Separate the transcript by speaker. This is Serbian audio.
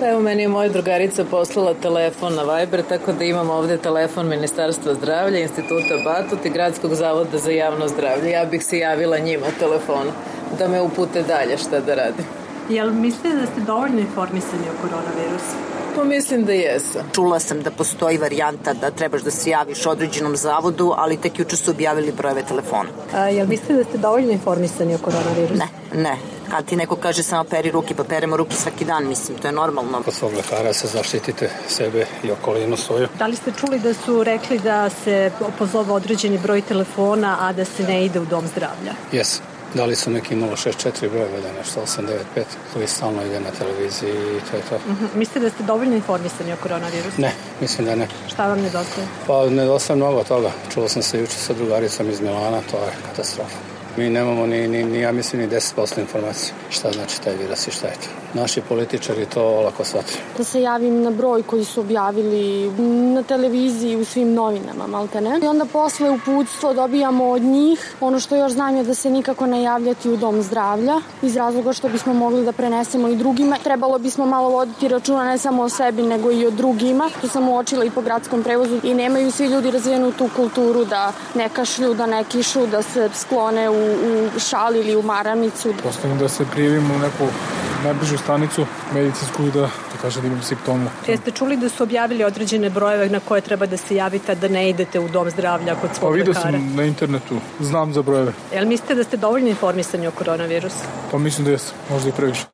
Speaker 1: Pa evo, meni je moja drugarica poslala telefon na Viber, tako da imam ovde telefon Ministarstva zdravlja, Instituta Batut i Gradskog zavoda za javno zdravlje. Ja bih se javila njima telefonu da me upute dalje šta da radim.
Speaker 2: Jel mislite da ste dovoljno informisani o koronavirusu?
Speaker 1: Pa mislim da jesam.
Speaker 3: Čula sam da postoji varijanta da trebaš da se javiš određenom zavodu, ali tek juče su objavili brojeve telefona.
Speaker 2: A, jel mislite da ste dovoljno informisani o koronavirusu?
Speaker 3: Ne, ne. Kad ti neko kaže samo peri ruke, pa peremo ruke svaki dan, mislim, to je normalno.
Speaker 4: Kod svog lekara se zaštitite sebe i okolinu svoju.
Speaker 2: Da li ste čuli da su rekli da se pozove određeni broj telefona, a da se ne ide u dom zdravlja?
Speaker 4: Jes. Da li su neki 064 brojeva da je nešto 895 koji stalno ide na televiziji i to je to.
Speaker 2: Mhm. Mislite da ste dovoljno informisani o koronavirusu?
Speaker 4: Ne, mislim da ne.
Speaker 2: Šta vam nedostaje?
Speaker 4: Pa nedostaje mnogo toga. Čuo sam se juče sa drugaricom iz Milana, to je katastrofa. Mi nemamo ni, ni, ni ja mislim, ni 10% informacija šta znači taj virus i šta je to. Naši političari to olako shvataju.
Speaker 5: da se javim na broj koji su objavili na televiziji, u svim novinama, malte ne. I onda posle uputstvo dobijamo od njih. Ono što još znam je da se nikako ne javljati u dom zdravlja, iz razloga što bismo mogli da prenesemo i drugima. Trebalo bismo malo voditi računa ne samo o sebi, nego i o drugima. To sam uočila i po gradskom prevozu i nemaju svi ljudi razvijenu tu kulturu da ne kašlju, da ne kišu, da se sklone u, u šal ili u maramicu.
Speaker 6: Ostavim da se prijavim u neku najbližu stanicu medicinsku da, da kaže da imam simptome.
Speaker 2: Jeste čuli da su objavili određene brojeve na koje treba da se javite, a da ne idete u dom zdravlja kod
Speaker 6: Pa
Speaker 2: svog
Speaker 6: vidio
Speaker 2: lekara?
Speaker 6: sam na internetu, znam za brojeve,
Speaker 2: Jel mislite da ste dovoljno informisani o koronavirusu?
Speaker 6: pa mislim da jesam, možda i previše.